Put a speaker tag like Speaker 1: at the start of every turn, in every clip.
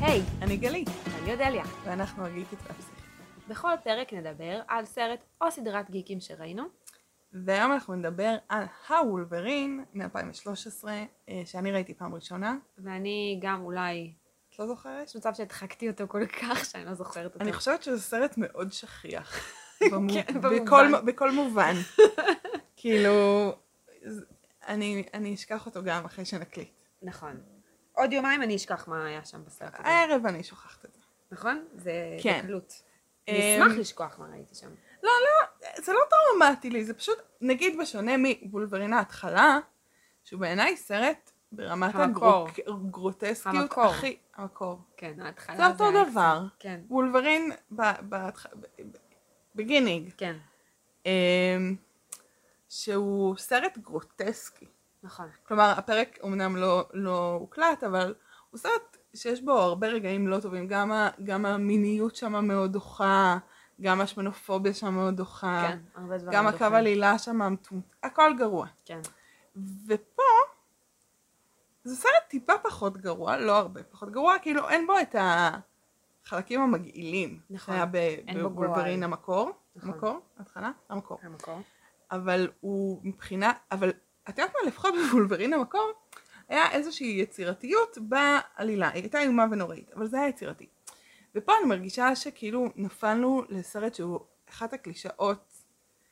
Speaker 1: היי,
Speaker 2: אני גלי,
Speaker 1: אני אודליה.
Speaker 2: ואנחנו הגיקית והפסיכית.
Speaker 1: בכל פרק נדבר על סרט או סדרת גיקים שראינו.
Speaker 2: והיום אנחנו נדבר על הוולברין מ-2013, אה, שאני ראיתי פעם ראשונה.
Speaker 1: ואני גם אולי,
Speaker 2: את לא זוכרת?
Speaker 1: יש מצב שהדחקתי אותו כל כך שאני לא זוכרת אותו.
Speaker 2: אני חושבת שזה סרט מאוד שכיח. במו-
Speaker 1: כן,
Speaker 2: בכל
Speaker 1: במובן.
Speaker 2: מ- בכל מובן. כאילו, ז- אני אני אשכח אותו גם אחרי שנקליט.
Speaker 1: נכון. עוד יומיים אני אשכח מה היה שם בסרט הזה.
Speaker 2: הערב אני שוכחת את זה.
Speaker 1: נכון? זה
Speaker 2: אה. כן.
Speaker 1: בקלות.
Speaker 2: אמ,
Speaker 1: אני אשמח לשכוח מה ראיתי שם.
Speaker 2: זה לא טראומטי לי, זה פשוט, נגיד בשונה מבולברין ההתחלה, שהוא בעיניי סרט ברמת
Speaker 1: המקור.
Speaker 2: הגרוטסקיות
Speaker 1: המקור.
Speaker 2: הכי... המקור.
Speaker 1: כן, ההתחלה
Speaker 2: זה אותו
Speaker 1: היה
Speaker 2: דבר.
Speaker 1: קצת- כן,
Speaker 2: וולברין בגינינג,
Speaker 1: כן,
Speaker 2: אמ, שהוא סרט גרוטסקי.
Speaker 1: נכון.
Speaker 2: כלומר, הפרק אמנם לא, לא הוקלט, אבל הוא סרט שיש בו הרבה רגעים לא טובים. גם, ה, גם המיניות שם מאוד דוחה, גם השמנופוביה שם מאוד דוחה,
Speaker 1: כן, הרבה דברים.
Speaker 2: אה. גם הקו
Speaker 1: דוחים.
Speaker 2: עלילה שם המטומט... הכל גרוע.
Speaker 1: כן.
Speaker 2: ופה, זה סרט טיפה פחות גרוע, לא הרבה פחות גרוע, כאילו אין בו את החלקים המגעילים.
Speaker 1: נכון.
Speaker 2: שהיה ב-
Speaker 1: בו גועל.
Speaker 2: בבולברין המקור,
Speaker 1: נכון.
Speaker 2: המקור, התחלה, המקור.
Speaker 1: המקור.
Speaker 2: אבל הוא מבחינה, אבל את יודעת מה, לפחות בבולברין המקור, היה איזושהי יצירתיות בעלילה, היא הייתה איומה ונוראית, אבל זה היה יצירתי. ופה אני מרגישה שכאילו נפלנו לסרט שהוא אחת הקלישאות,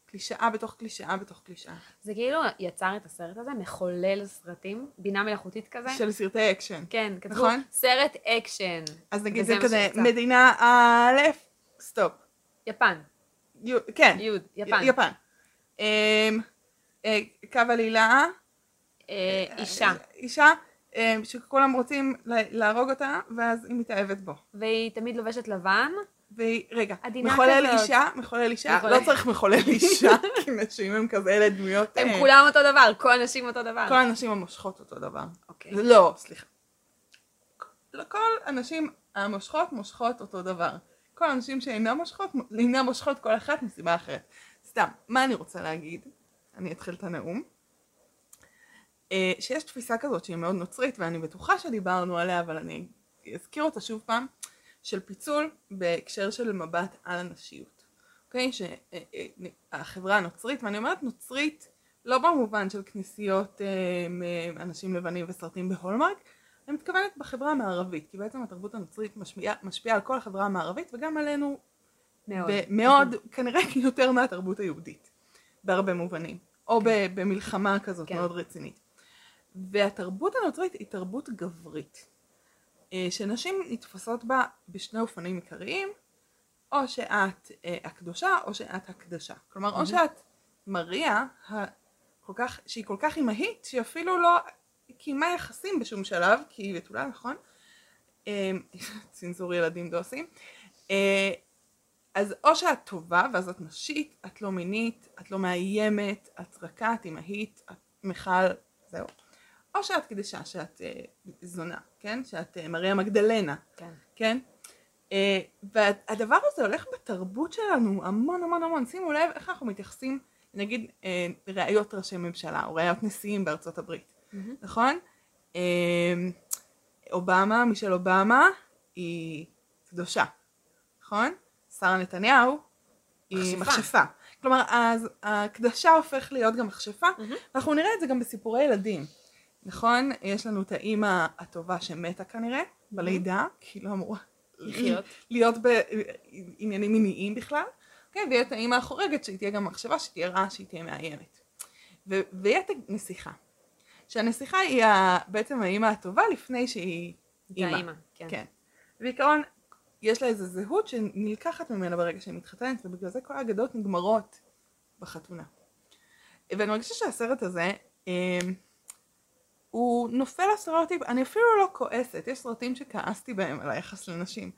Speaker 2: קלישאה בתוך קלישאה בתוך קלישאה,
Speaker 1: זה כאילו יצר את הסרט הזה, מחולל סרטים, בינה מלאכותית כזה.
Speaker 2: של סרטי אקשן.
Speaker 1: כן, כתבו
Speaker 2: נכון?
Speaker 1: סרט אקשן.
Speaker 2: אז נגיד
Speaker 1: וזה
Speaker 2: זה
Speaker 1: מה
Speaker 2: כזה,
Speaker 1: שיצא.
Speaker 2: מדינה א', סטופ,
Speaker 1: יפן,
Speaker 2: יו, כן,
Speaker 1: יוד, יפן.
Speaker 2: י- יפן. אמ, אה, קו עלילה,
Speaker 1: אה, אישה.
Speaker 2: אישה אה, שכולם רוצים ל- להרוג אותה, ואז היא מתאהבת בו.
Speaker 1: והיא תמיד לובשת לבן.
Speaker 2: והיא, רגע,
Speaker 1: עדינה
Speaker 2: מחולל
Speaker 1: כזאת.
Speaker 2: אישה, מחולל אישה,
Speaker 1: מחולל.
Speaker 2: לא צריך מחולל אישה, כי נשים הם כזה אלה דמויות,
Speaker 1: הם
Speaker 2: אה,
Speaker 1: כולם אותו דבר, כל הנשים אותו דבר.
Speaker 2: כל הנשים המושכות אותו דבר.
Speaker 1: אוקיי.
Speaker 2: לא, סליחה. כל הנשים המושכות מושכות אותו דבר. כל הנשים שאינן מושכות, אינן מושכות כל אחת מסיבה אחרת. סתם, מה אני רוצה להגיד? אני אתחיל את הנאום. אה, שיש תפיסה כזאת שהיא מאוד נוצרית, ואני בטוחה שדיברנו עליה, אבל אני אזכיר אותה שוב פעם, של פיצול בהקשר של מבט על הנשיות. אוקיי? שהחברה הנוצרית, ואני אומרת נוצרית לא במובן של כנסיות אה, מ- אנשים לבנים וסרטים בהולמרק, אני מתכוונת בחברה המערבית, כי בעצם התרבות הנוצרית משמיעה, משפיעה על כל החברה המערבית וגם עלינו
Speaker 1: מאוד.
Speaker 2: מאוד, כנראה יותר מהתרבות היהודית, בהרבה מובנים, או ב- במלחמה כזאת
Speaker 1: כן.
Speaker 2: מאוד רצינית. והתרבות הנוצרית היא תרבות גברית, אה, שנשים נתפסות בה בשני אופנים עיקריים, או שאת אה, הקדושה, או שאת הקדשה. כלומר, או שאת מריה, ה- כל כך, שהיא כל כך אימהית, שהיא אפילו לא קיימה יחסים בשום שלב, כי היא בתולה, נכון? אה, צנזור ילדים דוסים. אה, אז או שאת טובה ואז את נשית, את לא מינית, את לא מאיימת, את רכה, את אימהית, את מיכל, זהו. או שאת קדשה, שאת אה, זונה, כן? שאת אה, מריה מגדלנה,
Speaker 1: כן.
Speaker 2: כן? אה, והדבר הזה הולך בתרבות שלנו המון המון המון. שימו לב איך אנחנו מתייחסים, נגיד, אה, ראיות ראשי ממשלה או ראיות נשיאים בארצות הברית,
Speaker 1: מהמם.
Speaker 2: נכון? אה, אובמה, מישל אובמה, היא קדושה, נכון? שרה נתניהו, היא
Speaker 1: מכשפה.
Speaker 2: מכשפה. כלומר, אז הקדשה הופך להיות גם מכשפה, ואנחנו נראה את זה גם בסיפורי ילדים. נכון? יש לנו את האימא הטובה שמתה כנראה, בלידה, כי לא אמורה
Speaker 1: לחיות.
Speaker 2: להיות בעניינים מיניים בכלל, כן, ויהיה את האימא החורגת שהיא תהיה גם מחשבה, שהיא תהיה רעה, שהיא תהיה מאיימת. ו- ויהיה את הנסיכה. שהנסיכה היא ה- בעצם האימא הטובה לפני שהיא
Speaker 1: זה
Speaker 2: אימא.
Speaker 1: האימא. כן.
Speaker 2: כן. בעיקרון, יש לה איזו זהות שנלקחת ממנה ברגע שהיא מתחתנת, ובגלל זה כל האגדות נגמרות בחתונה. ואני מרגישה שהסרט הזה, אה, הוא נופל לסטריאוטיפ, אני אפילו לא כועסת, יש סרטים שכעסתי בהם על היחס לנשים.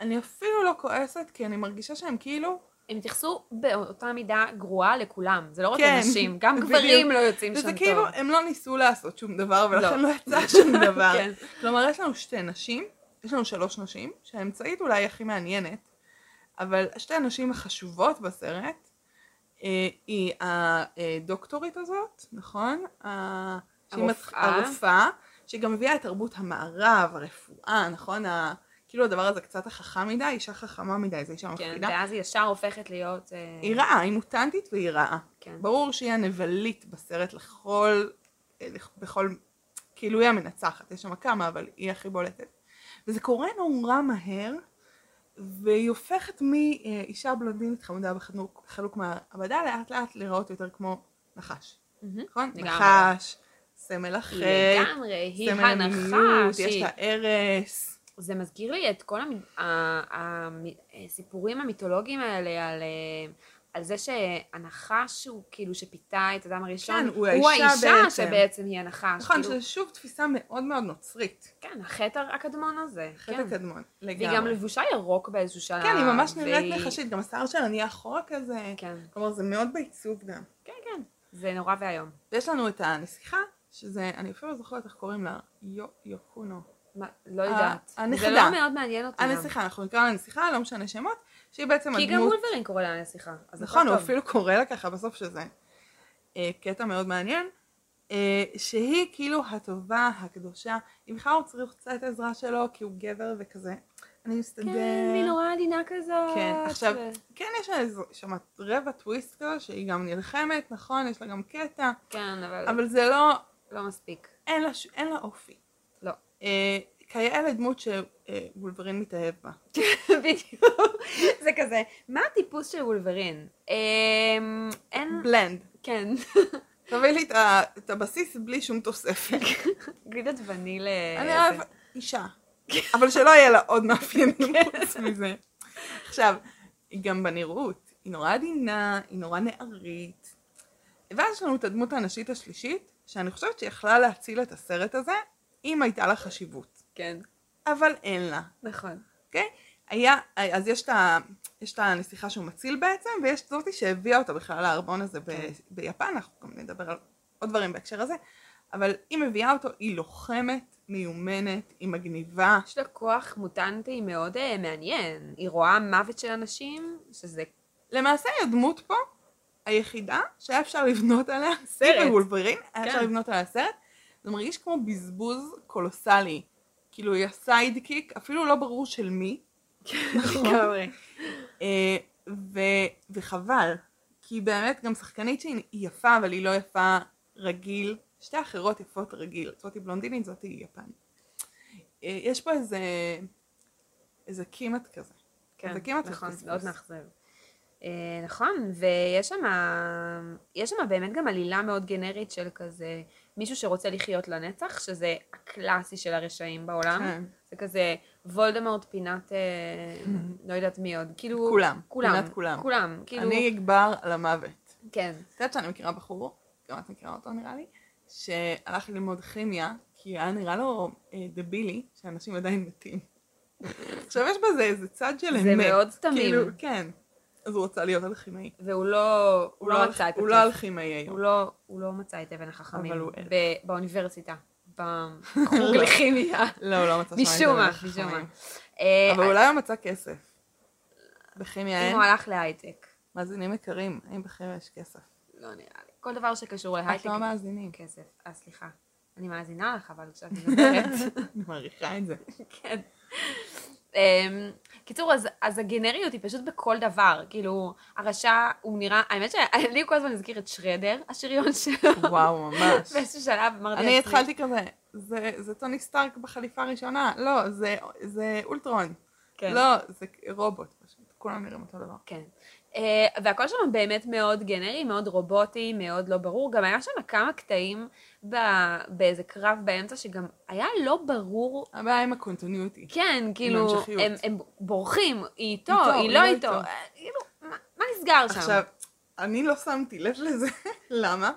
Speaker 2: אני אפילו לא כועסת, כי אני מרגישה שהם כאילו...
Speaker 1: הם התייחסו באותה מידה גרועה לכולם. זה לא רק
Speaker 2: כן.
Speaker 1: לנשים, גם
Speaker 2: בדיוק.
Speaker 1: גברים לא יוצאים שם
Speaker 2: וזה
Speaker 1: טוב.
Speaker 2: כאילו, הם לא ניסו לעשות שום דבר,
Speaker 1: לא.
Speaker 2: ולכן לא יצא שום דבר.
Speaker 1: כן.
Speaker 2: כלומר, יש לנו שתי נשים, יש לנו שלוש נשים, שהאמצעית אולי הכי מעניינת, אבל שתי הנשים החשובות בסרט, אה, היא הדוקטורית הזאת, נכון? ה- שהיא מת-
Speaker 1: הרופאה.
Speaker 2: הרופאה, שהיא גם מביאה את תרבות המערב, הרפואה, נכון? ה- כאילו הדבר הזה קצת החכם מדי, אישה חכמה מדי, זו אישה
Speaker 1: כן,
Speaker 2: מפחידה.
Speaker 1: ואז היא ישר הופכת להיות... אה,
Speaker 2: היא רעה, היא מוטנטית והיא רעה.
Speaker 1: כן.
Speaker 2: ברור שהיא הנבלית בסרט לכל, אה, לכ- בכל, כאילו היא המנצחת, יש שם כמה, אבל היא הכי בולטת. וזה קורה נורא מהר, והיא הופכת מאישה בלונדינית חמודה בחנוק, חלוק מעבדה לאט לאט להיראות יותר כמו נחש,
Speaker 1: מהמם.
Speaker 2: נכון?
Speaker 1: לגמרי.
Speaker 2: נחש, סמל החטא,
Speaker 1: לגמרי, היא
Speaker 2: סמל
Speaker 1: הנחש,
Speaker 2: המיניות, יש
Speaker 1: היא...
Speaker 2: לה ארס.
Speaker 1: זה מזכיר לי את כל המ- ה- ה- הסיפורים המיתולוגיים האלה על... אה, על זה שהנחש הוא כאילו שפיתה את אדם הראשון,
Speaker 2: כן, הוא
Speaker 1: הוא
Speaker 2: האישה
Speaker 1: האישה
Speaker 2: בעצם.
Speaker 1: שבעצם היא הנחש.
Speaker 2: נכון,
Speaker 1: כאילו,
Speaker 2: שזו שוב תפיסה מאוד מאוד נוצרית,
Speaker 1: כן, החטא הקדמון הזה.
Speaker 2: חטא
Speaker 1: כן.
Speaker 2: הקדמון,
Speaker 1: והיא גם
Speaker 2: לגמרי.
Speaker 1: לבושה ירוק באיזשהו שלב.
Speaker 2: כן, היא ממש נראית
Speaker 1: והיא-
Speaker 2: נחשית, גם השיער שלה נהיה אחורה כזה.
Speaker 1: כן,
Speaker 2: כלומר, זה מאוד בעיצוב גם.
Speaker 1: כן, כן. זה נורא ואיום.
Speaker 2: ויש לנו את הנסיכה, שזה, אני אפילו לא זוכרת איך קוראים לה, יו, יוקונו.
Speaker 1: מה- לא יודעת.
Speaker 2: הנכדה.
Speaker 1: זה לא מאוד מעניין אותי. גם.
Speaker 2: הנסיכה, אנחנו נקרא לה נסיכה, לא משנה שמות, שהיא בעצם
Speaker 1: כי גם
Speaker 2: הדמות,
Speaker 1: וולברין קורא לה הנסיכה. אז
Speaker 2: נכון,
Speaker 1: הכל
Speaker 2: הוא
Speaker 1: טוב.
Speaker 2: אפילו קורא לה ככה בסוף שזה אה, קטע מאוד מעניין, אה, שהיא כאילו הטובה, הקדושה, היא בכלל לא צריך קצת עזרה שלו, כי הוא גבר וכזה. אני מסתדר.
Speaker 1: כן, היא נורא עדינה כזאת.
Speaker 2: כן, עכשיו,
Speaker 1: ו-
Speaker 2: כן יש לה איזו- שם רבע טוויסט כזה, שהיא גם נלחמת, נכון, יש לה גם קטע,
Speaker 1: כן, אבל
Speaker 2: אבל זה לא,
Speaker 1: לא מספיק.
Speaker 2: אין לה, ש- אין לה אופי.
Speaker 1: לא.
Speaker 2: אה, כיאה לדמות שוולברין מתאהב בה.
Speaker 1: בדיוק. זה כזה, מה הטיפוס של וולברין? אמ, אין...
Speaker 2: בלנד.
Speaker 1: כן.
Speaker 2: תביא לי את ה- את הבסיס בלי שום תוספת.
Speaker 1: גלידת וניל...
Speaker 2: אני
Speaker 1: אה,
Speaker 2: אוהב אישה. אבל שלא יהיה לה עוד מאפיינים חוץ מזה. עכשיו, היא גם בנראות, היא נורא עדינה, היא נורא נערית. ואז יש לנו את הדמות הנשית השלישית, שאני חושבת שיכלה להציל את הסרט הזה, אם הייתה לה חשיבות.
Speaker 1: כן,
Speaker 2: אבל אין לה.
Speaker 1: נכון.
Speaker 2: אוקיי? היה, אז יש את ה... יש את הנסיכה שהוא מציל בעצם, ויש זאתי שהביאה אותה בכלל לארמון הזה ב-
Speaker 1: כן.
Speaker 2: ביפן, אנחנו גם נדבר על עוד דברים בהקשר הזה, אבל היא מביאה אותו, היא לוחמת, מיומנת, היא מגניבה,
Speaker 1: יש לה כוח מוטנטי מאוד אה, מעניין. היא רואה מוות של אנשים, שזה...
Speaker 2: למעשה היא הדמות פה היחידה שהיה אפשר לבנות עליה
Speaker 1: סרט.
Speaker 2: סרט וולברין, היה
Speaker 1: כן.
Speaker 2: אפשר לבנות עליה סרט. זה מרגיש כמו בזבוז קולוסלי. כאילו היא הסיידקיק, אפילו לא ברור של מי.
Speaker 1: נכון. לגמרי.
Speaker 2: אה, ו, וחבל, כי היא באמת גם שחקנית שהיא יפה, אבל היא לא יפה רגיל. שתי אחרות יפות רגיל, זאתי בלונדינית, זאתי יפנית. אה, יש פה איזה, איזה קימת כזה.
Speaker 1: כן,
Speaker 2: זה כמעט
Speaker 1: נכון,
Speaker 2: פספוס.
Speaker 1: מאוד מאכזב. אה, נכון, ויש שם יש שם באמת גם עלילה מאוד גנרית של כזה מישהו שרוצה לחיות לנצח, שזה הקלאסי של הרשעים בעולם.
Speaker 2: כן.
Speaker 1: זה כזה וולדמורט פינת אה, לא יודעת מי עוד. כאילו...
Speaker 2: כולם,
Speaker 1: כולם.
Speaker 2: פינת כולם.
Speaker 1: כולם. כאילו...
Speaker 2: אני אגבר על המוות.
Speaker 1: כן.
Speaker 2: את יודעת שאני מכירה בחור, גם את מכירה אותו נראה לי, שהלך ללמוד כימיה, כי היה נראה לו אה, דבילי, שאנשים עדיין מתים. עכשיו יש בזה איזה צד של אמת.
Speaker 1: זה מאוד תמים.
Speaker 2: כאילו, כן. אז הוא רצה להיות אלכימאי.
Speaker 1: והוא לא... הוא לא מצא את הטוב.
Speaker 2: הוא לא אלכימאי היום.
Speaker 1: הוא לא- הוא לא מצא את אבן החכמים.
Speaker 2: אבל הוא ער.
Speaker 1: ב- באוניברסיטה. בחוג לכימיה.
Speaker 2: לא, הוא לא מצא שם
Speaker 1: משום מה,
Speaker 2: את
Speaker 1: משום מה.
Speaker 2: החכמים.
Speaker 1: אה,
Speaker 2: אבל אולי הוא מצא כסף. בכימיה
Speaker 1: אם
Speaker 2: אין.
Speaker 1: הוא הלך להייטק.
Speaker 2: מאזינים יקרים, האם בכימיה יש כסף?
Speaker 1: לא נראה לי. כל דבר שקשור
Speaker 2: את
Speaker 1: להייטק
Speaker 2: לא מאזינים.
Speaker 1: כסף. אה, סליחה. אני מאזינה לך, אבל כשאת מדברת.
Speaker 2: אני מעריכה את זה.
Speaker 1: כן. אמ, קיצור, אז, אז הגנריות היא פשוט בכל דבר. כאילו, הרשע, הוא נראה... האמת שאני כל הזמן הזכיר את שרדר, השריון שלו.
Speaker 2: וואו, ממש.
Speaker 1: באיזשהו שלב אמרתי
Speaker 2: אני התחלתי כזה, זה, זה טוני סטארק בחליפה הראשונה, לא, זה, זה אולטרון,
Speaker 1: כן.
Speaker 2: לא, זה רובוט פשוט, כולם נראים אותו דבר.
Speaker 1: כן. אה, והכל שם באמת מאוד גנרי, מאוד רובוטי, מאוד לא ברור. גם היה שם כמה קטעים ב... באיזה קרב באמצע, שגם היה לא ברור
Speaker 2: הבעיה עם הקונטיניוטי.
Speaker 1: כן, כאילו,
Speaker 2: המשכיות.
Speaker 1: הם, הם בורחים, היא איתו,
Speaker 2: איתו,
Speaker 1: היא לא איתו. אה, כאילו, מה, מה נסגר שם?
Speaker 2: עכשיו, אני לא שמתי לב לזה, למה?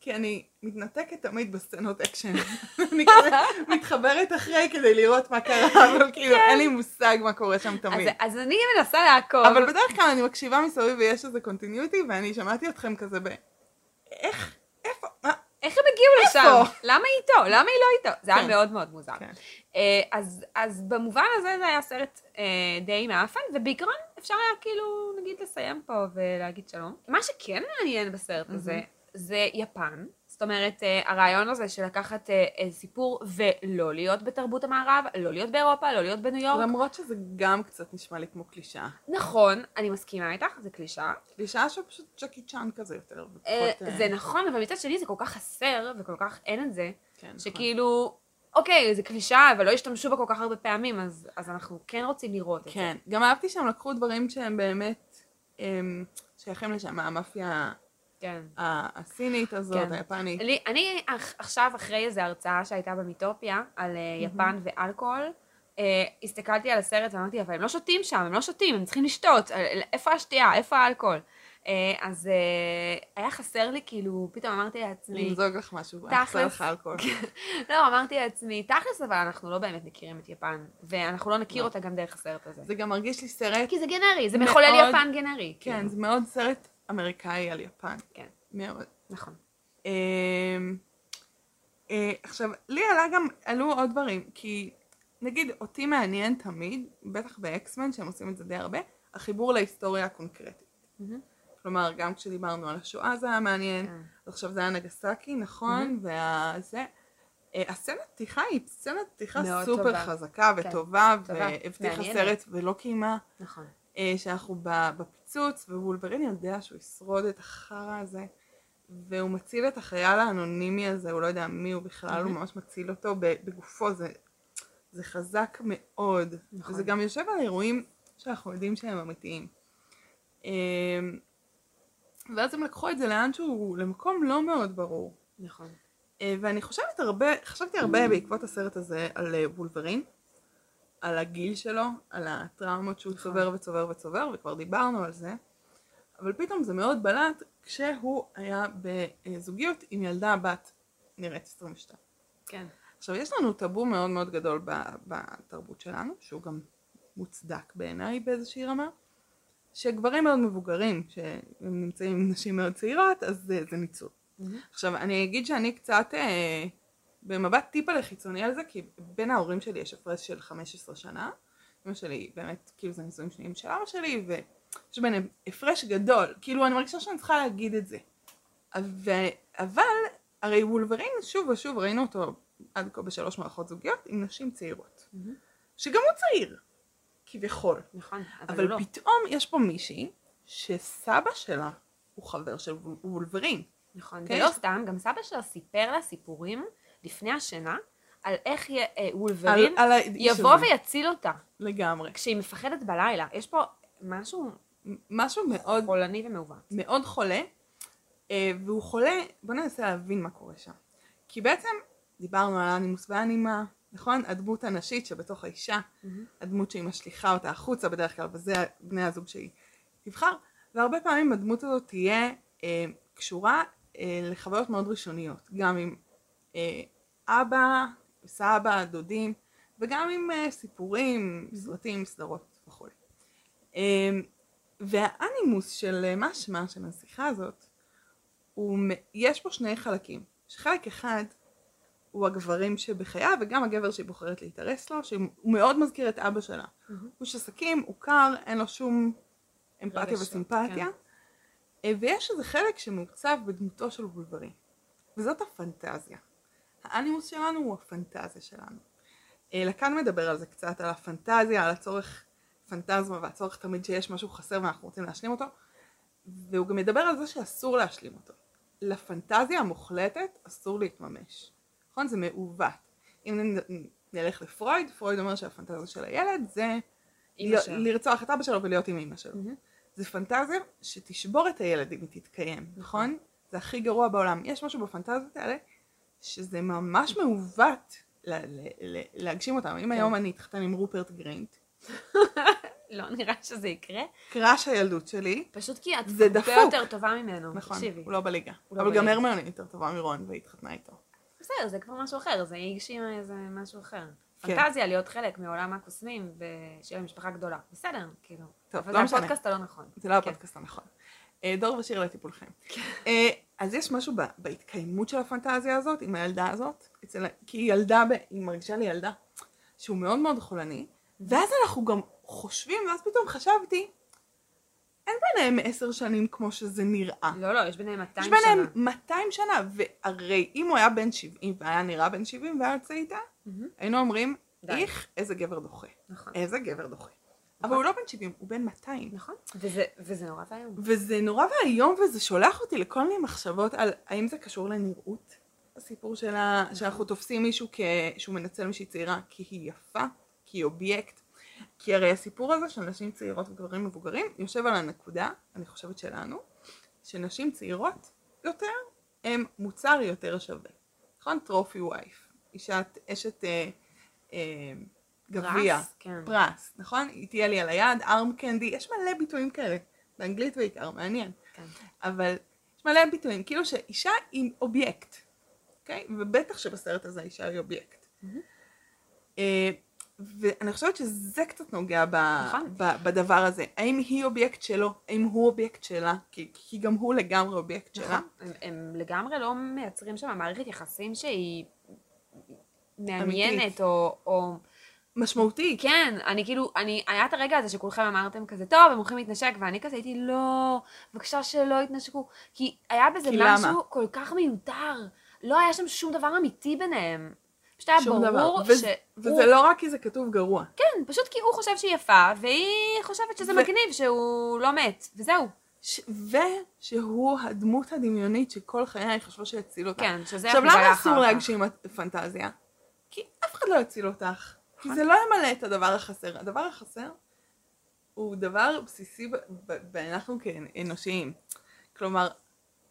Speaker 2: כי אני מתנתקת תמיד בסצנות אקשן. אני כזה מתחברת אחרי כדי לראות מה קרה, אבל כאילו אין לי מושג מה קורה שם
Speaker 1: כן. אז,
Speaker 2: תמיד.
Speaker 1: אז אני מנסה לעקוב.
Speaker 2: אבל בדרך כלל אני מקשיבה מסביב ויש איזה קונטיניוטי, ואני שמעתי אתכם כזה ב... איך? איפה? מה?
Speaker 1: איך הם הגיעו לשם? למה היא איתו? למה היא לא איתו? זה היה
Speaker 2: כן.
Speaker 1: מאוד מאוד מוזר.
Speaker 2: כן.
Speaker 1: אה, אז, אז במובן הזה זה היה סרט אה, די מאפן, ובעיקרון אפשר היה כאילו, נגיד, לסיים פה ולהגיד שלום. מה שכן מעניין בסרט הזה, זה יפן. זאת אומרת, אה, הרעיון הזה של לקחת אה, אה, סיפור ולא להיות בתרבות המערב, לא להיות באירופה, לא להיות בניו יורק.
Speaker 2: למרות שזה גם קצת נשמע לי כמו קלישאה.
Speaker 1: נכון, אני מסכימה איתך, זה קלישאה.
Speaker 2: קלישאה שפשוט ג'קי צ'אן כזה יותר. ופחות,
Speaker 1: אה,
Speaker 2: אה,
Speaker 1: זה נכון, אבל מצד שני זה כל כך חסר, וכל כך אין את זה,
Speaker 2: כן, נכון.
Speaker 1: שכאילו, אוקיי, זה קלישאה, אבל לא השתמשו בה כל כך הרבה פעמים, אז אז אנחנו כן רוצים לראות את זה.
Speaker 2: כן, גם אהבתי שהם לקחו דברים שהם באמת אמ, שייכים לשם, המאפיה
Speaker 1: כן.
Speaker 2: ה- הסינית הזאת,
Speaker 1: כן.
Speaker 2: היפנית.
Speaker 1: לי, אני אח, עכשיו, אחרי איזו הרצאה שהייתה במיטופיה על mm-hmm. יפן ואלכוהול, uh, הסתכלתי על הסרט ואמרתי, אבל הם לא שותים שם, הם לא שותים, הם צריכים לשתות, אה, איפה השתייה, איפה האלכוהול? Uh, אז uh, היה חסר לי, כאילו, פתאום אמרתי לעצמי,
Speaker 2: למזוג לך משהו, אני אעשה
Speaker 1: תכלס.
Speaker 2: לך אלכוהול.
Speaker 1: לא, אמרתי לעצמי, תכלס, אבל אנחנו לא באמת מכירים את יפן, ואנחנו לא נכיר
Speaker 2: לא.
Speaker 1: אותה גם דרך הסרט הזה.
Speaker 2: זה גם מרגיש לי סרט,
Speaker 1: כי זה גנרי, זה
Speaker 2: מאוד-
Speaker 1: מחולל יפן גנרי.
Speaker 2: כן,
Speaker 1: כאילו.
Speaker 2: זה מאוד סרט אמריקאי על יפן.
Speaker 1: כן.
Speaker 2: מאוד.
Speaker 1: נכון.
Speaker 2: אמ, אה, עכשיו, לי עלה גם, עלו עוד דברים, כי נגיד אותי מעניין תמיד, בטח באקסמן, שהם עושים את זה די הרבה, החיבור להיסטוריה הקונקרטית.
Speaker 1: מהמם.
Speaker 2: כלומר, גם כשדיברנו על השואה זה היה מעניין,
Speaker 1: כן.
Speaker 2: עכשיו זה היה נגסקי, נכון, וזה. הסצנת פתיחה היא סצנת פתיחה
Speaker 1: מאוד
Speaker 2: סופר
Speaker 1: טובה.
Speaker 2: חזקה
Speaker 1: כן,
Speaker 2: וטובה,
Speaker 1: טובה,
Speaker 2: והבטיחה
Speaker 1: מעניינת.
Speaker 2: סרט ולא קיימה.
Speaker 1: נכון.
Speaker 2: אה, שאנחנו ב- בפיצוץ, ווולברין יודע שהוא ישרוד את החרא הזה, והוא מציל את החייל האנונימי הזה, הוא לא יודע מי הוא בכלל, הוא
Speaker 1: מהמם.
Speaker 2: ממש מציל אותו ב- בגופו, זה, זה חזק מאוד.
Speaker 1: נכון.
Speaker 2: וזה גם יושב על אירועים שאנחנו יודעים שהם אמיתיים. אה, ואז הם לקחו את זה לאן שהוא, למקום לא מאוד ברור.
Speaker 1: נכון.
Speaker 2: אה, ואני חושבת הרבה, חשבתי הרבה בעקבות הסרט הזה על אה, וולברין, על הגיל שלו, על הטראומות שהוא
Speaker 1: נכון.
Speaker 2: צובר וצובר וצובר, וכבר דיברנו על זה, אבל פתאום זה מאוד בלט כשהוא היה בזוגיות עם ילדה בת נראית 22.
Speaker 1: כן.
Speaker 2: עכשיו יש לנו טאבו מאוד מאוד גדול ב- בתרבות שלנו, שהוא גם מוצדק בעיניי באיזושהי רמה, שגברים מאוד מבוגרים, שהם נמצאים עם נשים מאוד צעירות, אז זה, זה ניצול.
Speaker 1: מהמם.
Speaker 2: עכשיו אני אגיד שאני קצת אה, במבט טיפה לחיצוני על זה, כי בין ההורים שלי יש הפרש של 15 שנה, אמא שלי באמת, כאילו זה נישואים שניים של אבא שלי, ויש ביניהם הפרש גדול, כאילו אני מרגישה שאני צריכה להגיד את זה. ו... אבל הרי וולברין שוב ושוב ראינו אותו עד כה בשלוש מערכות זוגיות עם נשים צעירות.
Speaker 1: מהמם.
Speaker 2: שגם הוא צעיר, כביכול.
Speaker 1: נכון. אבל
Speaker 2: אבל
Speaker 1: הוא לא.
Speaker 2: פתאום יש פה מישהי שסבא שלה הוא חבר של וול- וולברין.
Speaker 1: נכון,
Speaker 2: כן,
Speaker 1: ולא
Speaker 2: יש-
Speaker 1: סתם, גם סבא שלה סיפר לה סיפורים לפני השינה על איך י- אה,
Speaker 2: על-
Speaker 1: וולברין
Speaker 2: על האיש
Speaker 1: יבוא
Speaker 2: הזה.
Speaker 1: ויציל אותה,
Speaker 2: לגמרי.
Speaker 1: כשהיא מפחדת בלילה. יש פה משהו
Speaker 2: משהו מאוד
Speaker 1: חולני ומעוות.
Speaker 2: מאוד חולה, אה, והוא חולה, בוא ננסה להבין מה קורה שם. כי בעצם דיברנו על האנימוס והאנימה, נכון? הדמות הנשית שבתוך האישה, הדמות שהיא משליכה אותה החוצה בדרך כלל, וזה בני הזוג שהיא תבחר, והרבה פעמים הדמות הזאת תהיה אה, קשורה אה, לחוויות מאוד ראשוניות, גם עם אה, אבא, סבא, דודים, וגם עם אה, סיפורים, סרטים, סדרות וכו'. אה, והאנימוס של אה, משמע, של הנסיכה הזאת, הוא, מ- יש פה שני חלקים. שחלק אחד הוא הגברים שבחייה, וגם הגבר שהיא בוחרת להתארס לו, שהוא מאוד מזכיר את אבא שלה.
Speaker 1: מהמם.
Speaker 2: הוא איש עסקים, הוא קר, אין לו שום אמפתיה
Speaker 1: רגשות,
Speaker 2: וסימפתיה. אה, ויש איזה חלק שמעוצב בדמותו של בולברי. וזאת הפנטזיה. האנימוס שלנו הוא הפנטזיה שלנו. אה, לקאן מדבר על זה קצת, על הפנטזיה, על הצורך פנטזמה והצורך תמיד שיש משהו חסר ואנחנו רוצים להשלים אותו. והוא גם מדבר על זה שאסור להשלים אותו. לפנטזיה המוחלטת אסור להתממש. נכון? זה מעוות. אם נ- נלך לפרויד, פרויד אומר שהפנטזיה של הילד זה
Speaker 1: אימא
Speaker 2: להיות-
Speaker 1: שלה.
Speaker 2: לרצוח את אבא שלו ולהיות עם אמא שלו.
Speaker 1: מהמם.
Speaker 2: זה פנטזיה שתשבור את הילד אם היא תתקיים, נכון? זה הכי גרוע בעולם. יש משהו בפנטזיות האלה שזה ממש מעוות ל- ל- ל- להגשים אותם.
Speaker 1: כן.
Speaker 2: אם היום אני אתחתן עם רופרט גרינט,
Speaker 1: לא נראה שזה יקרה,
Speaker 2: קראש הילדות שלי,
Speaker 1: פשוט כי את
Speaker 2: זה
Speaker 1: הרבה
Speaker 2: דפוק.
Speaker 1: יותר טובה ממנו.
Speaker 2: נכון,
Speaker 1: תקשיבי.
Speaker 2: הוא לא בליגה.
Speaker 1: הוא לא
Speaker 2: אבל גם
Speaker 1: בליגה.
Speaker 2: הרמיוני יותר טובה מרון והיא התחתנה איתו.
Speaker 1: בסדר, זה כבר משהו אחר, זה היא הגשימה איזה משהו אחר.
Speaker 2: כן.
Speaker 1: פנטזיה להיות חלק מעולם הקוסמים ושיהיה להם משפחה גדולה. בסדר, כאילו.
Speaker 2: טוב,
Speaker 1: אבל
Speaker 2: לא
Speaker 1: זה
Speaker 2: משנה.
Speaker 1: הפודקאסט הלא נכון.
Speaker 2: זה לא
Speaker 1: כן.
Speaker 2: הפודקאסט הנכון. אה, דור ושיר לטיפולכם. אה, אז יש משהו ב- בהתקיימות של הפנטזיה הזאת, עם הילדה הזאת, אצל ה- כי היא ילדה, ב- היא מרגישה לי ילדה, שהוא מאוד מאוד חולני, ואז אנחנו גם חושבים, ואז פתאום חשבתי, אין ביניהם עשר שנים כמו שזה נראה.
Speaker 1: לא, לא, יש ביניהם 200
Speaker 2: יש
Speaker 1: שנה.
Speaker 2: ביניהם 200 שנה, והרי אם הוא היה בן 70 והיה נראה בן 70 והיה יוצא איתה,
Speaker 1: מהמם.
Speaker 2: היינו אומרים,
Speaker 1: די.
Speaker 2: איך, איזה גבר דוחה.
Speaker 1: נכון.
Speaker 2: איזה גבר דוחה. אבל
Speaker 1: נכון.
Speaker 2: הוא לא בן 70, הוא בן 200.
Speaker 1: נכון. וזה, וזה נורא ואיום.
Speaker 2: וזה נורא ואיום וזה שולח אותי לכל מיני מחשבות על האם זה קשור לנראות, הסיפור שלה, שאנחנו תופסים מישהו כ... שהוא מנצל מישהי צעירה כי היא יפה, כי היא אובייקט, כי הרי הסיפור הזה של נשים צעירות וגברים מבוגרים יושב על הנקודה, אני חושבת שלנו, שנשים צעירות יותר הן מוצר יותר שווה, נכון? טרופי וייף, אישת, אשת אה, אה, גביע.
Speaker 1: פרס? כן.
Speaker 2: פרס, נכון? היא תהיה לי על היד, ארם קנדי, יש מלא ביטויים כאלה, באנגלית בעיקר, מעניין.
Speaker 1: כן.
Speaker 2: אבל יש מלא ביטויים, כאילו שאישה היא אובייקט, אוקיי? ובטח שבסרט הזה האישה היא אובייקט.
Speaker 1: Mm-hmm.
Speaker 2: אה, ואני חושבת שזה קצת נוגע ב,
Speaker 1: נכון.
Speaker 2: ב, בדבר הזה. האם היא אובייקט שלו? האם הוא אובייקט שלה? כי, כי גם הוא לגמרי אובייקט שלה.
Speaker 1: נכון. הם, הם לגמרי לא מייצרים שם מערכת יחסים שהיא מעניינת,
Speaker 2: אמיתית.
Speaker 1: או, או...
Speaker 2: משמעותי.
Speaker 1: כן, אני כאילו, אני, היה את הרגע הזה שכולכם אמרתם כזה, טוב, הם הולכים להתנשק, ואני כזה הייתי, לא, בבקשה שלא יתנשקו, כי היה בזה
Speaker 2: כי
Speaker 1: משהו
Speaker 2: למה?
Speaker 1: כל כך מיותר. לא היה שם שום דבר אמיתי ביניהם. פשוט היה
Speaker 2: שום
Speaker 1: ברור
Speaker 2: דבר.
Speaker 1: שהוא...
Speaker 2: וזה, וזה לא רק כי זה כתוב גרוע.
Speaker 1: כן, פשוט כי הוא חושב שהיא יפה, והיא חושבת שזה
Speaker 2: ו-
Speaker 1: מגניב, שהוא לא מת, וזהו.
Speaker 2: ש... ושהוא הדמות הדמיונית שכל חיי היא חשבה שיציל אותה.
Speaker 1: כן, שזה
Speaker 2: עכשיו,
Speaker 1: החיזבאללה
Speaker 2: למה
Speaker 1: אחר
Speaker 2: אסור
Speaker 1: כך.
Speaker 2: להגשים את- פנטזיה? כי אף אחד לא יציל אותך. כי
Speaker 1: נכון.
Speaker 2: זה לא ימלא את הדבר החסר. הדבר החסר הוא דבר בסיסי ב- ב- באנחנו כאנושיים. כלומר,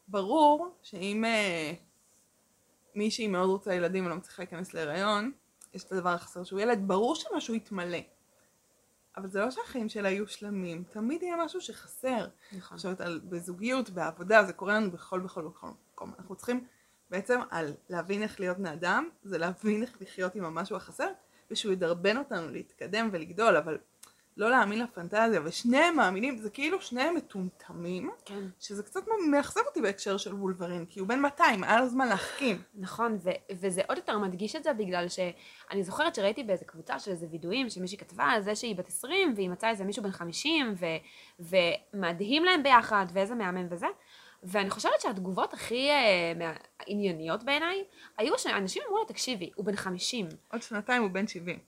Speaker 2: ברור שאם אה, מישהי מאוד רוצה ילדים ולא מצליחה להיכנס להיריון, יש את הדבר החסר שהוא ילד, ברור שמשהו יתמלא. אבל זה לא שהחיים שלה יהיו שלמים, תמיד יהיה משהו שחסר.
Speaker 1: נכון.
Speaker 2: חושבת על בזוגיות, בעבודה, זה קורה לנו בכל בכל בכל מקום. אנחנו צריכים בעצם על להבין איך להיות בני אדם, זה להבין איך לחיות עם המשהו החסר, ושהוא ידרבן אותנו להתקדם ולגדול, אבל לא להאמין לפנטזיה, ושניהם מאמינים, זה כאילו שניהם מטומטמים,
Speaker 1: כן.
Speaker 2: שזה קצת מאכזב אותי בהקשר של וולברין, כי הוא בן 200, היה לו זמן להחכים.
Speaker 1: נכון, ו- וזה עוד יותר מדגיש את זה בגלל שאני זוכרת שראיתי באיזה קבוצה של איזה וידואים שמישהי כתבה על זה שהיא בת 20 והיא מצאה איזה מישהו בן 50 ו- ומדהים להם ביחד ואיזה מהמם וזה. ואני חושבת שהתגובות הכי uh, ענייניות בעיניי היו שאנשים אמרו לה תקשיבי, הוא בן 50.
Speaker 2: עוד שנתיים הוא בן 70.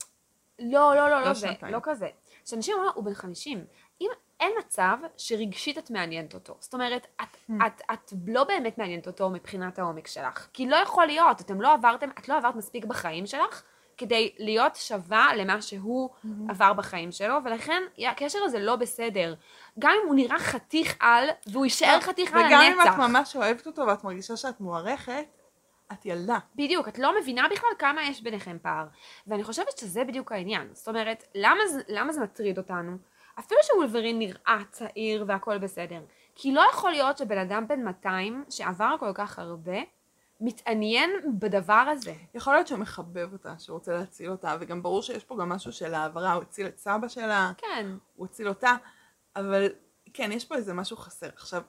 Speaker 1: לא, לא, לא,
Speaker 2: לא
Speaker 1: לא זה,
Speaker 2: שנתיים.
Speaker 1: לא כזה. שאנשים אומרים, הוא בן 50. אם אין מצב שרגשית את מעניינת אותו. זאת אומרת,
Speaker 2: Hmm.
Speaker 1: את, את, את לא באמת מעניינת אותו מבחינת העומק שלך. כי לא יכול להיות, אתם לא עברתם, את לא עברת מספיק בחיים שלך כדי להיות שווה למה שהוא
Speaker 2: Hmm.
Speaker 1: עבר בחיים שלו, ולכן הקשר הזה לא בסדר. גם אם הוא נראה חתיך על, והוא יישאר חתיך על
Speaker 2: לא, וגם אם את
Speaker 1: הנצח.
Speaker 2: ממש אוהבת אותו ואת מרגישה שאת מוערכת, את ילדה.
Speaker 1: בדיוק, את לא מבינה בכלל כמה יש ביניכם פער. ואני חושבת שזה בדיוק העניין. זאת אומרת, למה, זה- למה זה מטריד אותנו? אפילו שוולברין נראה צעיר והכל בסדר. כי לא יכול להיות שבן אדם בן 200, שעבר כל כך הרבה, מתעניין בדבר הזה.
Speaker 2: יכול להיות שהוא מחבב אותה, שהוא רוצה להציל אותה, וגם ברור שיש פה גם משהו של העברה, הוא הציל את סבא שלה,
Speaker 1: כן,
Speaker 2: הוא הציל אותה, אבל כן, יש פה איזה משהו חסר. עכשיו,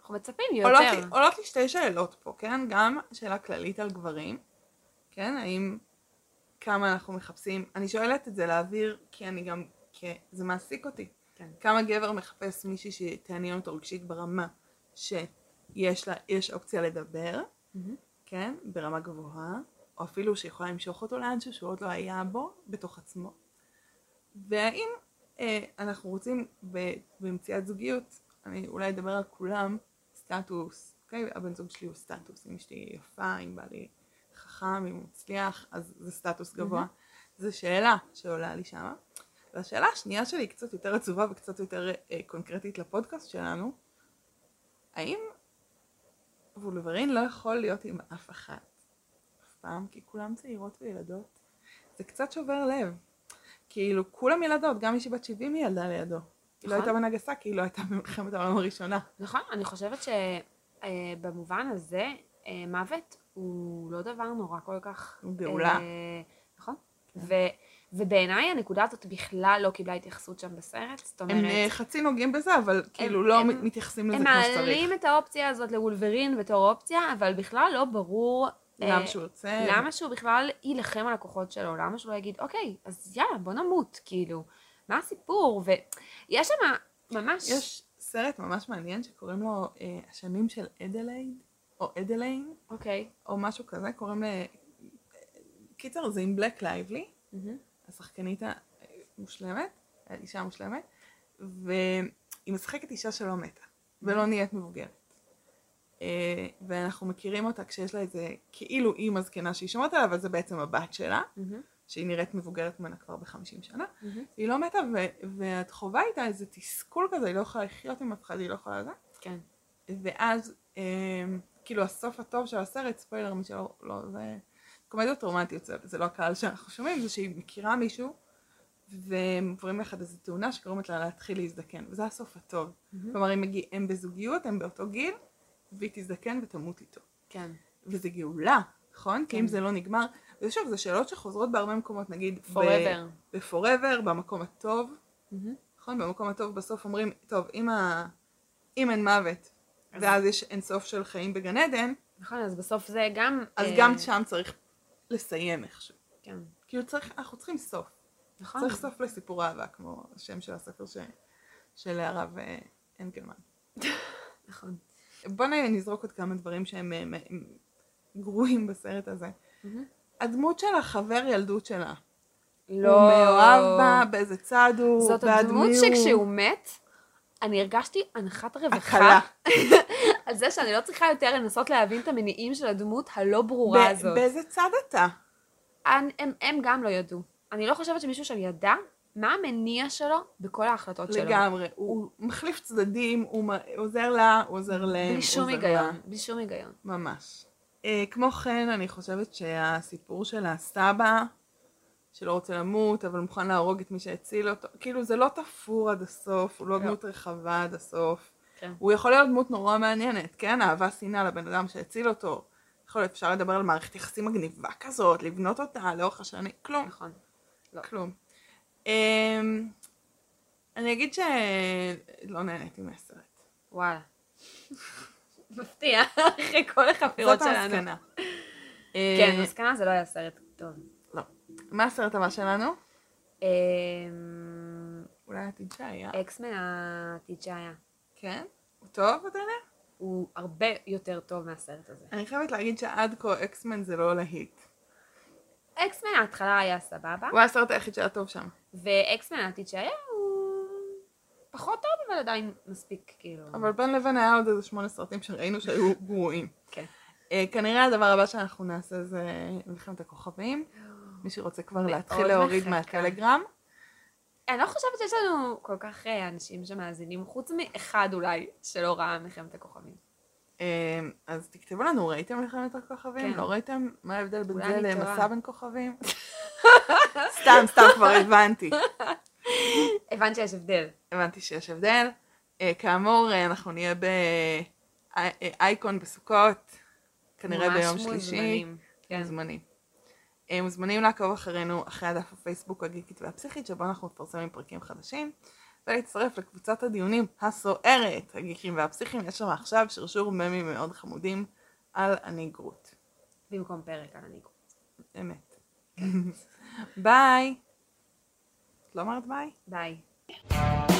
Speaker 1: אנחנו מצפים
Speaker 2: עולות
Speaker 1: יותר.
Speaker 2: לי, עולות לי שתי שאלות פה, כן? גם שאלה כללית על גברים, כן? האם כמה אנחנו מחפשים? אני שואלת את זה לאוויר, כי אני גם, כי זה מעסיק אותי.
Speaker 1: כן.
Speaker 2: כמה גבר מחפש מישהי שתעניין אותו רגשית ברמה שיש לה, יש אופציה לדבר,
Speaker 1: מהמם.
Speaker 2: כן? ברמה גבוהה, או אפילו שיכולה למשוך אותו לאנשהו שהוא עוד לא היה בו, בתוך עצמו. והאם אה, אנחנו רוצים ב- במציאת זוגיות, אני אולי אדבר על כולם, סטטוס, אוקיי? הבן זוג שלי הוא סטטוס, אם אשתי יפה, אם בא לי חכם, אם הוא מצליח, אז זה סטטוס גבוה. זו שאלה שעולה לי שמה. והשאלה השנייה שלי היא קצת יותר עצובה וקצת יותר אה, קונקרטית לפודקאסט שלנו, האם וולברין לא יכול להיות עם אף אחת אף פעם, כי כולם צעירות וילדות? זה קצת שובר לב. כאילו, כולם ילדות, גם מישהי בת 70 היא ילדה לידו. היא לא
Speaker 1: נכון.
Speaker 2: הייתה בנגסקי, היא לא הייתה במלחמת העולם הראשונה.
Speaker 1: נכון, אני חושבת שבמובן הזה, אה, מוות הוא לא דבר נורא כל כך...
Speaker 2: הוא גאולה.
Speaker 1: אה, נכון. ו, ובעיניי הנקודה הזאת בכלל לא קיבלה התייחסות שם בסרט, זאת אומרת...
Speaker 2: הם אה, חצי נוגעים בזה, אבל כאילו
Speaker 1: הם-
Speaker 2: לא
Speaker 1: הם-
Speaker 2: מ- מתייחסים לזה
Speaker 1: הם
Speaker 2: כמו שצריך.
Speaker 1: מעלים את האופציה הזאת לוולברין בתור אופציה, אבל בכלל לא ברור אה,
Speaker 2: למה שהוא יוצא?
Speaker 1: למה שהוא בכלל יילחם על הכוחות שלו, למה שהוא לא יגיד, אוקיי, אז יאללה, בוא נמות, כאילו, מה הסיפור? ויש שם ממש...
Speaker 2: יש סרט ממש מעניין שקוראים לו אה, השנים של אדלייד, או אדליין,
Speaker 1: אוקיי.
Speaker 2: או משהו כזה, קוראים ל... קיצר, זה עם בלק לייבלי,
Speaker 1: מהמם.
Speaker 2: השחקנית המושלמת, האישה המושלמת, והיא משחקת אישה שלא מתה, ולא נהיית מבוגרת. אה, ואנחנו מכירים אותה כשיש לה איזה כאילו אימא זקנה שהיא שומרת עליה, אבל זה בעצם הבת שלה,
Speaker 1: מהמם.
Speaker 2: שהיא נראית מבוגרת ממנה כבר בחמישים שנה.
Speaker 1: מהמם.
Speaker 2: היא לא מתה, ו- ואת חווה איתה איזה תסכול כזה, היא לא יכולה לחיות עם אף אחד, היא לא יכולה זה.
Speaker 1: כן.
Speaker 2: ואז, אה, כאילו הסוף הטוב של הסרט, ספוילר, מי שלא, לא, זה קומדיות רומנטיות, זה, זה לא הקהל שאנחנו שומעים, זה שהיא מכירה מישהו, והם עוברים יחד איזו תאונה שגורמת לה להתחיל להזדקן, וזה הסוף הטוב.
Speaker 1: מהמם.
Speaker 2: כלומר, הם, מגיע, הם בזוגיות, הם באותו גיל, והיא תזדקן ותמות איתו.
Speaker 1: כן.
Speaker 2: וזה גאולה, נכון? כי
Speaker 1: כן.
Speaker 2: אם זה לא נגמר, ושוב, זה שאלות שחוזרות בהרבה מקומות, נגיד,
Speaker 1: Forever.
Speaker 2: בפוראבר, במקום הטוב.
Speaker 1: מהמם.
Speaker 2: נכון? במקום הטוב בסוף אומרים, טוב, אם, ה... אם אין מוות,
Speaker 1: אז-
Speaker 2: ואז יש אין סוף של חיים בגן עדן,
Speaker 1: נכון, אז בסוף זה גם...
Speaker 2: אז
Speaker 1: אה,
Speaker 2: גם שם צריך לסיים איכשהו.
Speaker 1: כן.
Speaker 2: כאילו צריך, אנחנו צריכים סוף.
Speaker 1: נכון.
Speaker 2: צריך סוף לסיפור אהבה, כמו השם של הספר ש... של הרב אה, אנגלמן.
Speaker 1: נכון.
Speaker 2: בוא נ- נזרוק עוד כמה דברים שהם אה, מ- הם גרועים בסרט הזה.
Speaker 1: מהמם.
Speaker 2: הדמות של החבר ילדות שלה.
Speaker 1: לא.
Speaker 2: הוא מאוהב בה, באיזה צד הוא,
Speaker 1: זאת
Speaker 2: בעד
Speaker 1: הדמות
Speaker 2: מי הוא.
Speaker 1: שכשהוא מת, אני הרגשתי אנחת רווחה
Speaker 2: הקלה.
Speaker 1: על זה שאני לא צריכה יותר לנסות להבין את המניעים של הדמות הלא ברורה
Speaker 2: ב-
Speaker 1: הזאת.
Speaker 2: באיזה צד אתה?
Speaker 1: הם, הם, הם גם לא ידעו. אני לא חושבת שמישהו שם ידע מה המניע שלו בכל ההחלטות שלו.
Speaker 2: לגמרי, הוא מחליף צדדים, הוא מ- עוזר לה, הוא עוזר להם,
Speaker 1: בלי שום
Speaker 2: עוזר לה.
Speaker 1: היגיון, בלי שום היגיון.
Speaker 2: ממש. אה, כמו כן, אני חושבת שהסיפור של הסבא, שלא רוצה למות, אבל מוכן להרוג את מי שהציל אותו, כאילו זה לא תפור עד הסוף, הוא לא
Speaker 1: לא.
Speaker 2: דמות רחבה עד הסוף.
Speaker 1: כן.
Speaker 2: הוא יכול להיות דמות נורא מעניינת, כן? אהבה שנאה לבן אדם שהציל אותו. יכול להיות אפשר לדבר על מערכת יחסים מגניבה כזאת, לבנות אותה לאורך השנים, כלום.
Speaker 1: נכון. לא.
Speaker 2: כלום. אמ, אני אגיד שלא נהניתי מהסרט.
Speaker 1: וואלה. מפתיע, אחרי כל החפירות
Speaker 2: זאת
Speaker 1: שלנו.
Speaker 2: המסקנה.
Speaker 1: כן,
Speaker 2: אה,
Speaker 1: מסקנה זה לא היה סרט טוב.
Speaker 2: לא. מה הסרט הבא שלנו?
Speaker 1: אמ,
Speaker 2: אולי העתיד שהיה.
Speaker 1: אקסמן העתיד שהיה.
Speaker 2: כן? הוא טוב, אתה יודע?
Speaker 1: הוא הרבה יותר טוב מהסרט הזה.
Speaker 2: אני חייבת להגיד שעד כה אקסמן זה לא להיט.
Speaker 1: אקסמן ההתחלה היה סבבה,
Speaker 2: הוא היה הסרט היחיד שהיה טוב שם.
Speaker 1: ואקסמן העתיד שהיה הוא פחות טוב, אבל עדיין מספיק, כאילו.
Speaker 2: אבל בין לבין היה עוד איזה שמונה סרטים שראינו שהיו גרועים.
Speaker 1: כן.
Speaker 2: אה, כנראה הדבר הבא שאנחנו נעשה זה מלחמת הכוכבים. מי שרוצה כבר להתחיל
Speaker 1: מאוד
Speaker 2: להוריד
Speaker 1: מחכה.
Speaker 2: מהטלגרם.
Speaker 1: אני לא חושבת שיש לנו כל כך אה, אנשים שמאזינים, חוץ מאחד אולי, שלא ראה מלחמת הכוכבים.
Speaker 2: אמ, אז תכתבו לנו, ראיתם מלחמת הכוכבים?
Speaker 1: כן.
Speaker 2: לא ראיתם? מה ההבדל בין
Speaker 1: אולי
Speaker 2: זה
Speaker 1: אני טועה.
Speaker 2: למסע בין כוכבים? סתם, סתם, כבר הבנתי.
Speaker 1: הבנת שיש הבדל.
Speaker 2: הבנתי שיש הבדל. אה, כאמור, אה, אנחנו נהיה באייקון בסוכות, כנראה
Speaker 1: ממש
Speaker 2: ביום שלישי.
Speaker 1: מוזמנים. כן.
Speaker 2: מוזמנים. אה, מוזמנים לעקוב אחרינו אחרי הדף הפייסבוק הגיקית והפסיכית, שבו אנחנו מפרסמים פרקים חדשים, ולהצטרף לקבוצת הדיונים הסוערת, הגיקים והפסיכים, יש שם עכשיו שרשור ממים מאוד חמודים על הנגרות.
Speaker 1: במקום פרק על הניגוד.
Speaker 2: אמת. ביי. את לא אמרת ביי?
Speaker 1: ביי.